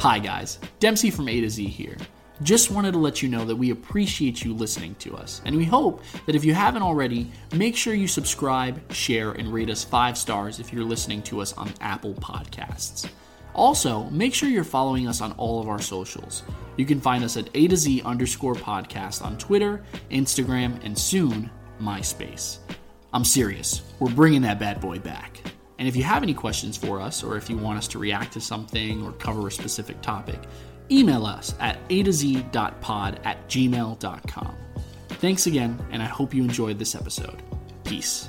Hi, guys. Dempsey from A to Z here. Just wanted to let you know that we appreciate you listening to us, and we hope that if you haven't already, make sure you subscribe, share, and rate us five stars if you're listening to us on Apple Podcasts. Also, make sure you're following us on all of our socials. You can find us at A to Z underscore podcast on Twitter, Instagram, and soon, MySpace. I'm serious, we're bringing that bad boy back. And if you have any questions for us, or if you want us to react to something or cover a specific topic, email us at a to z.pod at gmail.com. Thanks again, and I hope you enjoyed this episode. Peace.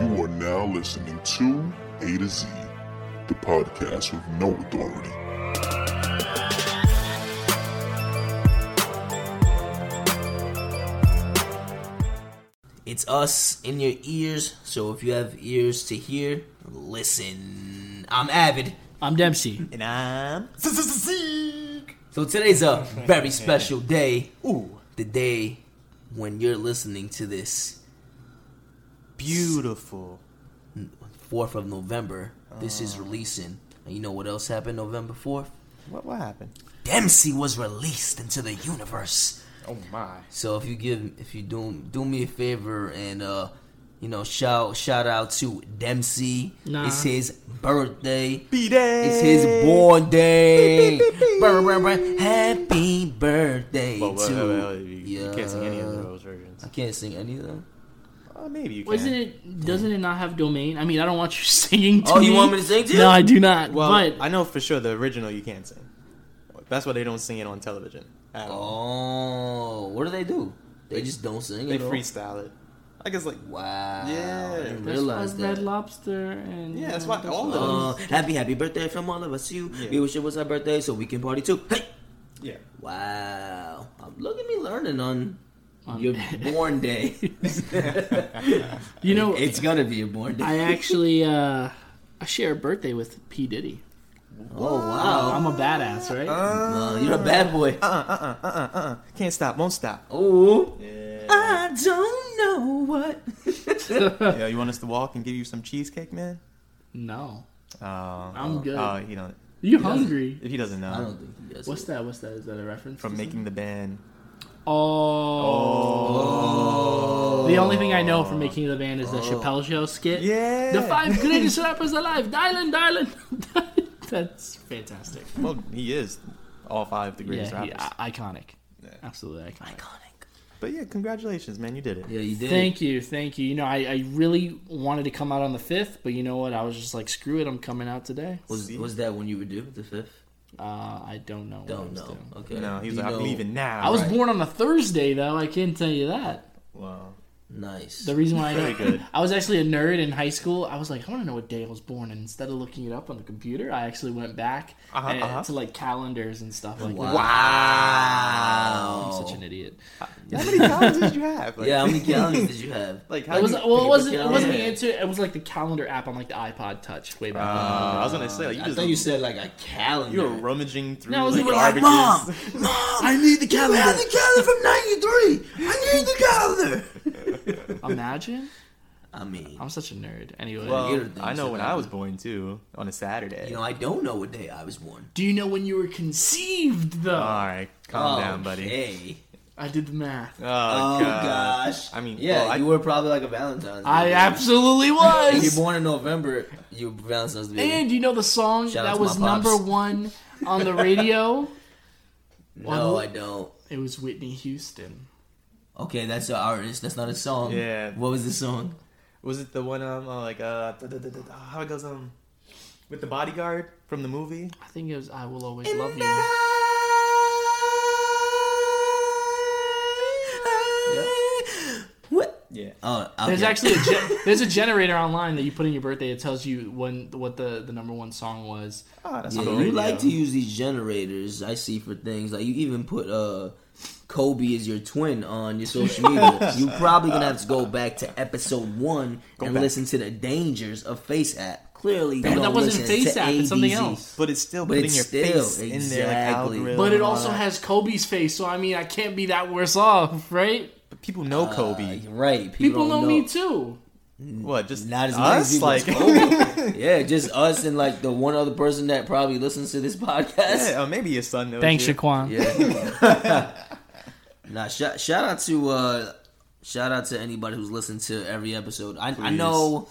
You are now listening to A to Z, the podcast with no authority. It's us in your ears, so if you have ears to hear, listen. I'm Avid. I'm Dempsey. And I'm Zeke. So today's a very special day. Ooh. The day when you're listening to this. Beautiful. 4th of November. This is releasing. And you know what else happened November 4th? What what happened? Dempsey was released into the universe. Oh my. So if you give if you do do me a favor and uh you know shout shout out to Dempsey. Nah. It's his birthday. B day. It's his born day. Beep, beep, beep, beep. Brr, brr, brr. Happy birthday Well, well, to well, well, you, you ya. can't sing any of those versions. I can't sing any of them. Oh, maybe you can. Wasn't it? Doesn't it not have domain? I mean, I don't want you singing. To Oh, you want me to sing to you? No, I do not. Well, but I know for sure the original you can't sing. That's why they don't sing it on television. At all. Oh, what do they do? They just don't sing. They at all? freestyle it. I guess like Wow. Yeah. I didn't this realize was that. Red Lobster, and Yeah, that's why all of them. Uh, happy, happy birthday from all of us to you. Yeah. We wish it was our birthday so we can party too. Hey! yeah. Wow. Um, Look at me learning on On- your born day. You know, it's gonna be your born day. I actually uh, I share a birthday with P Diddy. oh wow. I'm a badass, right? Uh, you're a bad boy. Uh-uh, Can't stop, won't stop. Oh. I don't know what. Yo, you want us to walk and give you some cheesecake, man? no, Oh, I'm oh, good. Oh, he don't. you hungry? If he doesn't know, I don't think he does. What's What's that? What's that? Is that a reference? from to making the band. something? Oh. The only thing I know from making the band is the Chappelle Show skit. Yeah. The five greatest rappers alive. Dylan, Dylan. That's fantastic. Well, he is all five of the greatest yeah, he- rappers. I- iconic. Absolutely iconic. iconic? But yeah, congratulations, man. You did it. Yeah, you did. Thank you, thank you. You know, I, I really wanted to come out on the fifth, but you know what? I was just like, screw it, I'm coming out today. Was, was that when you were due? The fifth? Uh, I don't know. what I Don't was know. doing. Okay. No, he was You like, I'm know- leaving now. I was Right. born on a Thursday, though. I can't tell you that. Wow. Nice. The reason why I Very know, good. I was actually a nerd in high school. I was like, I want to know what day I was born. And instead of looking it up on the computer, I actually went back Uh-huh, and- uh-huh. to like calendars and stuff like that. Wow. I'm such an idiot. How many colleges did you have? Like, Yeah, how many calories did you have? Like how It was you- well, it wasn't it calendar? wasn't the answer. It was like the calendar app on like the iPod Touch way back. Uh, when. I was gonna say like, you I just thought you said like a calendar. you were rummaging through. No, it was- like, you were like, garbages. Mom, Mom, I need the calendar. I had the calendar from '93. I need the calendar. Imagine I mean, I'm such a nerd. Anyway, Well, Computer things I know that when happen. I was born too on a Saturday. you know, I don't know what day I was born. do you know when you were conceived? Though All right, calm down, buddy. Okay. I did the math. Oh, Oh gosh. I mean, yeah, well, I- you were probably like a Valentine's. I baby. absolutely If you're was. born in November, you were Valentine's baby. And you know the song Shout out that to was my pops. number one on the radio? no, I don't. It was Whitney Houston. Okay, that's an artist. That's not a song. Yeah. What was the song? oh, was it the one um uh, like uh da, da, da, da, da, how it goes um with the bodyguard from the movie. I think it was I Will Always Love You. Yep. What? Yeah. Oh, okay. There's actually a gen- there's a generator online that you put in your birthday. It tells you when what the, the number one song was. Oh, that's Yeah, on the you radio. like to use these generators. I see for things like you even put uh, Kobe as your twin on your social media. you probably gonna have to go back to episode one and back. listen to the dangers of Face App. Clearly, you But don't that wasn't listen Face to App. It's something ABZ. else. But it's still But putting it's your still- face in there, like exactly. algorithm. But it and all also that. has Kobe's face, so I mean, I can't be that worse off, right? But people know Kobe. Right? People don't know, me too. what? Just Not as many us? people Like, as Kobe. yeah, just us and like the one other person that probably listens to this podcast. yeah, or uh, maybe your son knows. Thanks, you. Shaquan. Nah, shout, shout out to uh, shout out to anybody who's listened to every episode. I, I Please. know.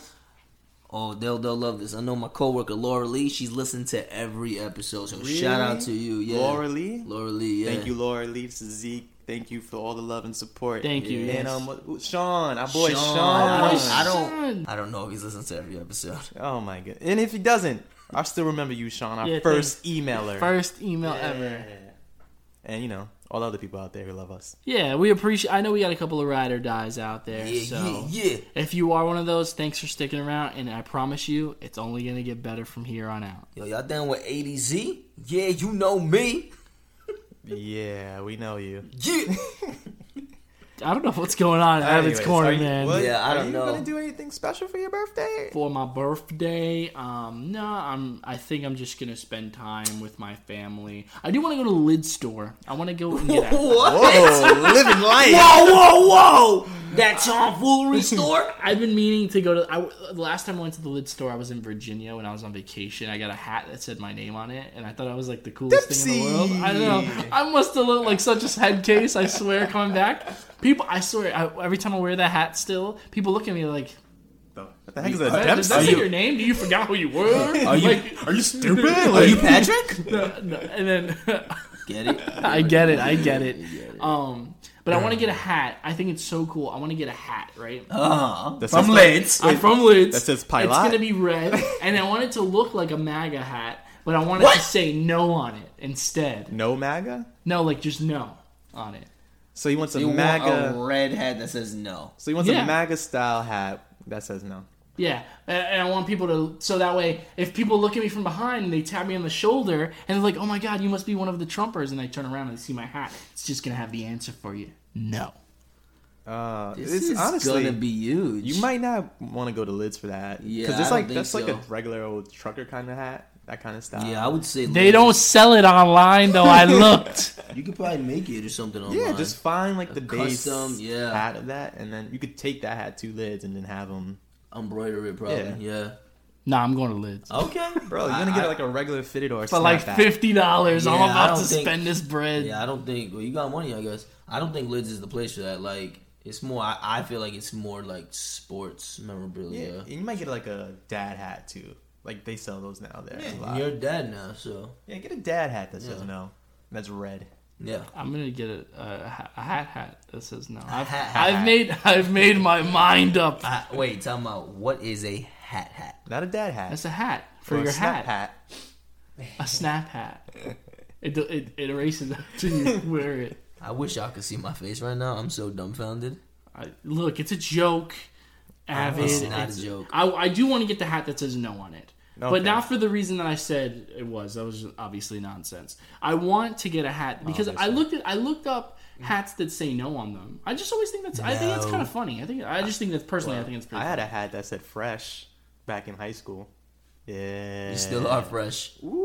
Oh, they'll they'll love this. I know my coworker Laura Lee. She's listened to every episode. So shout out to you, yeah. Laura Lee? Laura Lee. Yeah. Thank you, Laura Leafs, Zeke. Thank you for all the love and support. Thank you, And yes. um, ooh, Sean, our boy Sean. Sean. I don't, I don't. Sean. I don't know if he's listened to every episode. Oh my god! And if he doesn't, I still remember you, Sean, our Yeah, first emailer, First email ever. and you know all the other people out there who love us. Yeah, we appreciate. I know we got a couple of ride or dies out there. Yeah, so yeah, yeah. if you are one of those, thanks for sticking around, and I promise you, it's only gonna get better from here on out. Yo, y'all down with ADZ? Yeah, you know me. Yeah, we know you. Yeah. I don't know what's going on at Evan's Anyways, Corner, are you- man. what- Yeah, I are don't you know. gonna do anything special for your birthday? For my birthday, um, no, I'm. I think I'm just gonna spend time with my family. I do want to go to the lid store. I want to go and get. a- Whoa, living life. Whoa, whoa, whoa! That tomfoolery store? I've been meaning to go to. I, the last time I went to the lid store, I was in Virginia when I was on vacation. I got a hat that said my name on it, and I thought I was like the coolest thing in the world. I don't know. I must have looked like such a head case. I swear, coming back, people. I swear, I, every time I wear that hat, still people look at me like, What the heck is a "Does that Dempsey? say your name? Do you forget who you were?" Are you- are you stupid? Are Like, you Patrick? and then Get it? I get it. I get it. Um, but I want to get a hat. I think it's so cool. I want to get a hat, right? that says- From Lids. I'm from Lids. that says It's Pilot? gonna be red, and I want it to look like a MAGA hat, but I want it What? to say no on it instead. no MAGA. No, like just no on it. So he wants a You oh, MAGA. want a red hat that says no. so he wants Yeah. a MAGA style hat that says no. Yeah, and- and I want people to so that way if people look at me from behind and they tap me on the shoulder and they're like, "Oh my God, you must be one of the Trumpers," and I turn around and they see my hat, it's just gonna have the answer for you. No. Uh, This it's is honestly gonna be huge. You might not want to go to lids for that. Yeah, because I it's don't like think that's like a so. regular old trucker kind of hat, that kind of style. Yeah, I would say They Lids. don't sell it online though. I looked. You could probably make it or something online. yeah. Just find like the base custom, yeah. hat of that, and then you could take that hat to lids and then have them. embroider it, probably. Yeah. nah, I'm going to Lids. Okay, Bro, you're gonna get like a regular fitted or for like fifty dollars. Yeah, I'm I about don't to think- spend this bread. Yeah, I don't think. Well, you got money, I guess. I don't think Lids is the place for that. Like, it's more. I, I feel like it's more like sports Yeah, memorabilia. and you might get like a dad hat too. Like they sell those now there. a lot. You're dead now, so Yeah, get a dad hat that says Yeah. no. That's red. yeah. I'm gonna get a, a, ha- a hat hat that says no. I've, hat hat. I've made I've made my mind up. Uh, wait, talking about what is a hat hat? Not a dad hat. That's a hat for Or a your snap hat. A snap hat. It, do- it, it erases after you wear it. I wish y'all could see my face right now. I'm so dumbfounded. I, look, it's a joke. Avid. It's not a joke. I, I do want to get the hat that says no on it. But Okay. not for the reason that I said it was. That was obviously nonsense. I want to get a hat because I looked at I looked up hats that say no on them. I just always think that's I think that's No. kind of funny. I think I just think that's personally I think it's pretty. I had funny. a hat that said fresh back in high school. Yeah. You still are fresh. Ooh.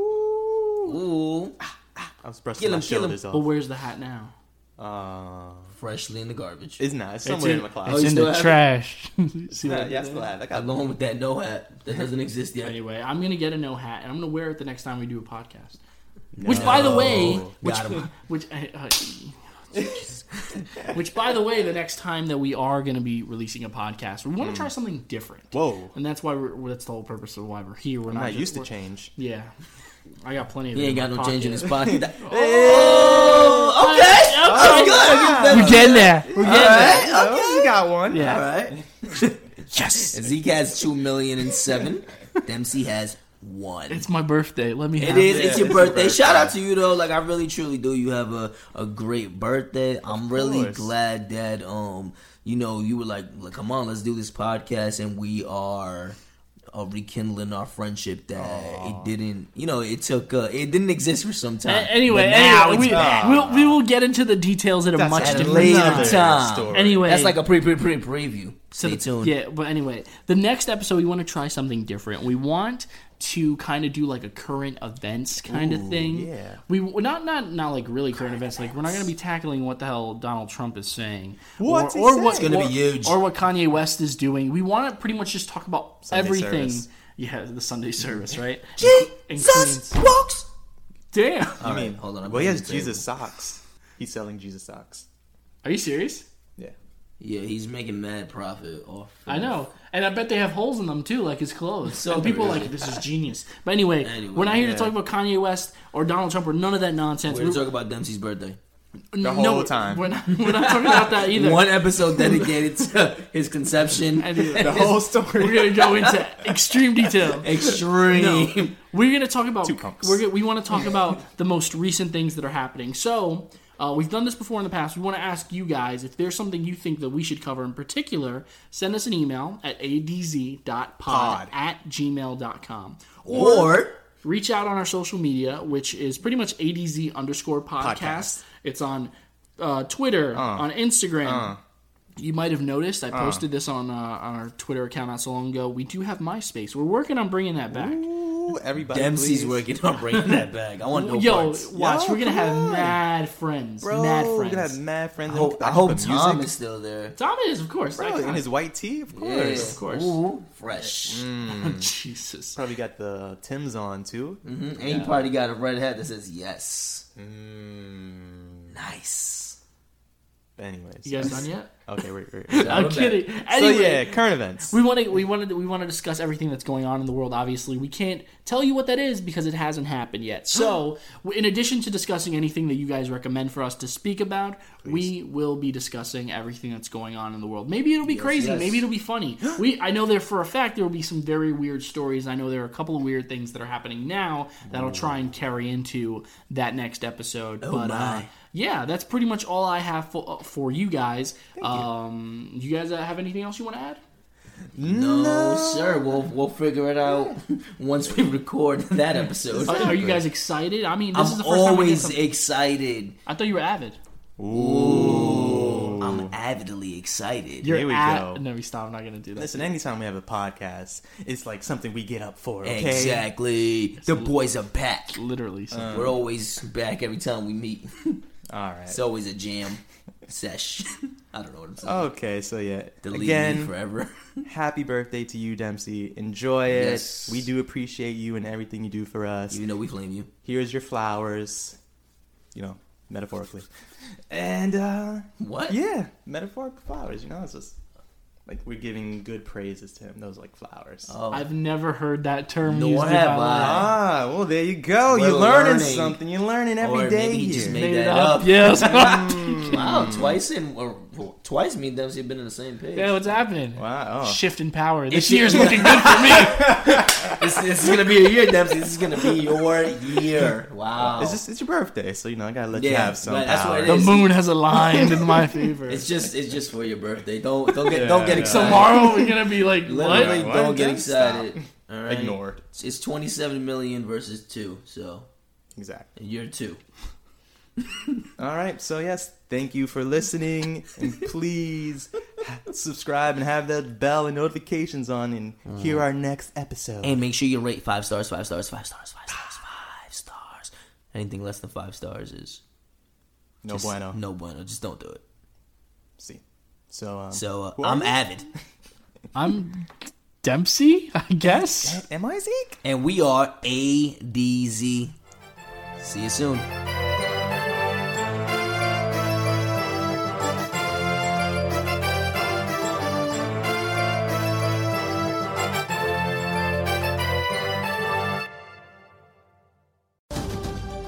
Ooh, I was brushing Kill my him, kill him. Oh. shoulders but off. where's the hat now? Uh, freshly in the garbage. it's not. It's somewhere in my Oh, closet. you in still the have it? trash. See Yeah, yeah, I still have. it. I got Along with that no hat that doesn't exist yet. Anyway, I'm gonna get a no hat, and I'm gonna wear it the next time we do a podcast. Which, by the way, which, Got him. which, uh, uh, Jesus Christ. which, by the way, the next time that we are gonna be releasing a podcast, we want to try something different. Whoa. And that's why we're, that's the whole purpose of why we're here. We're I'm not, not just- used to we're- change. Yeah, I got plenty of. He it ain't in got my no change in his pocket. pocket. Oh, Oh, okay. okay. That's good. We're getting there. We're getting there. Oh, you got one. Yeah. All right. Yes. Zeke has two million and seven. Dempsey has one. It's my birthday. Let me. It have is. It. It's your birthday. Shout out to you though. Like I really truly do. You have a, a great birthday. I'm really course. glad that um you know you were like like come on let's do this podcast and we are. Uh, rekindling our friendship that it didn't, you know, it took, uh, it didn't exist for some A- time. Anyway, But now anyway, it's back. we, we'll, we will get into the details at a much at a different later time. time. Anyway, That's like a pre pre pre preview. So Stay the- tuned. Yeah, but anyway, the next episode we want to try something different. We want to kind of do like a current events kind of thing. yeah. We we're not not not like really current events. Like we're not going to be tackling what the hell Donald Trump is saying What's or, he or saying? what's It's gonna be huge. or what Kanye West is doing. We want to pretty much just talk about Sunday everything. service. Yeah, the Sunday service, right? Jesus Including- walks. Damn. I I mean, hold on. I'm well, he has putting the Jesus table. socks. He's selling Jesus socks. Are you serious? Yeah. Yeah, he's making mad profit off. I know. And I bet they have holes in them too, like his clothes. So There people are is. like, this is genius. But anyway, Anyway, we're not here to yeah. talk about Kanye West or Donald Trump or none of that nonsense. We're gonna talk about Dempsey's birthday. the whole time. We're not, we're not talking about that either. One episode dedicated to his conception. Anyway, The whole we're story. going to go into extreme detail. Extreme. No, we're going to talk about pumps. we're gonna, we want to talk about the most recent things that are happening. So uh, we've done this before in the past. We want to ask you guys if there's something you think that we should cover in particular. Send us an email at adz.pod Pod. at gmail.com. Or reach out on our social media, which is pretty much ADZ underscore podcast. Podcast. It's on uh, Twitter, on Instagram. Uh. You might have noticed I posted this on uh, on our Twitter account not so long ago. We do have MySpace. We're working on bringing that back. Ooh, everybody. Dempsey's please. working on bringing that back. I want no Yo, parts. watch. Yo, we're gonna come have on. mad friends. Bro, mad we're friends. gonna have mad friends. I hope, I can hope put Tom music. is still there. Tom is, of course. Bro, I- I- in his white tee, of course. Yeah. of course. Ooh, fresh. Jesus. Probably got the Tim's on too. Mm-hmm. And he probably got a red hat that says yes. Mm. Nice. Anyways, You guys done yet? okay, wait, wait. I'm I'm kidding. So Anyway, yeah, current events. We want to we wanted we want to discuss everything that's going on in the world. Obviously, we can't tell you what that is because it hasn't happened yet. So, w- in addition to discussing anything that you guys recommend for us to speak about, we will be discussing everything that's going on in the world. Maybe it'll be crazy. yes. Maybe it'll be funny. we I know there for a fact there will be some very weird stories. I know there are a couple of weird things that are happening now that I'll try and carry into that next episode. but Uh, Oh, my. yeah, that's pretty much all I have for, for you guys. um, you. guys uh, have anything else you want to add? No, sir. We'll we'll figure it out once we record that episode. Are, are you guys excited? I mean, this is I'm the first time we did always something. excited. I thought you were avid. I'm avidly excited. You're Here we avid. go. No, we stop. I'm not gonna do that. Listen, anytime we have a podcast, it's like something we get up for. Okay. Exactly. The boys are back. Literally. So. We're always back every time we meet. All right. It's always a jam sesh. I don't know what I'm saying. okay, so yeah. Delete me Uh, Again, forever. happy birthday to you, Dempsey. Enjoy it. Yes. We do appreciate you and everything you do for us. Even though we flame you. Here's your flowers. You know, metaphorically. And uh What? yeah, metaphorical flowers. You know, it's just like we're giving good praises to him. Those like flowers. I've never heard that term Nor used in my have life. I. Ah, well, there you go. We're You're learning, learning. something. You're learning Or every day maybe he just here. made Made that it up. up. Yes. yeah, Wow, twice in or, well, twice me and Dempsey have been on the same page. what's happening? wow. Shift in power. This If you- year's looking good for me. this, this is gonna be a year, Dempsey. This is gonna be your year. Wow. It's just it's your birthday, so you know I gotta let you Yeah, have some but that's what power. it The is. moon has aligned in my favor. It's just it's just for your birthday. Don't don't get don't get Yeah. excited. Tomorrow we're gonna be like Literally, what? Yeah, don't what? get Don't excited. All right. Ignored. It's twenty seven million versus two, so Exactly. and you're two. All right. So yes, thank you for listening, and please subscribe and have that bell and notifications on, and hear our next episode. Mm. And make sure you rate five stars, five stars, five stars, five stars, five stars. Anything less than five stars is no just bueno. No bueno. Just don't do it. See. So um, So uh, who are I'm you? avid, I'm Dempsey, I guess. Am I Zeke? and we are ADZ. See you soon.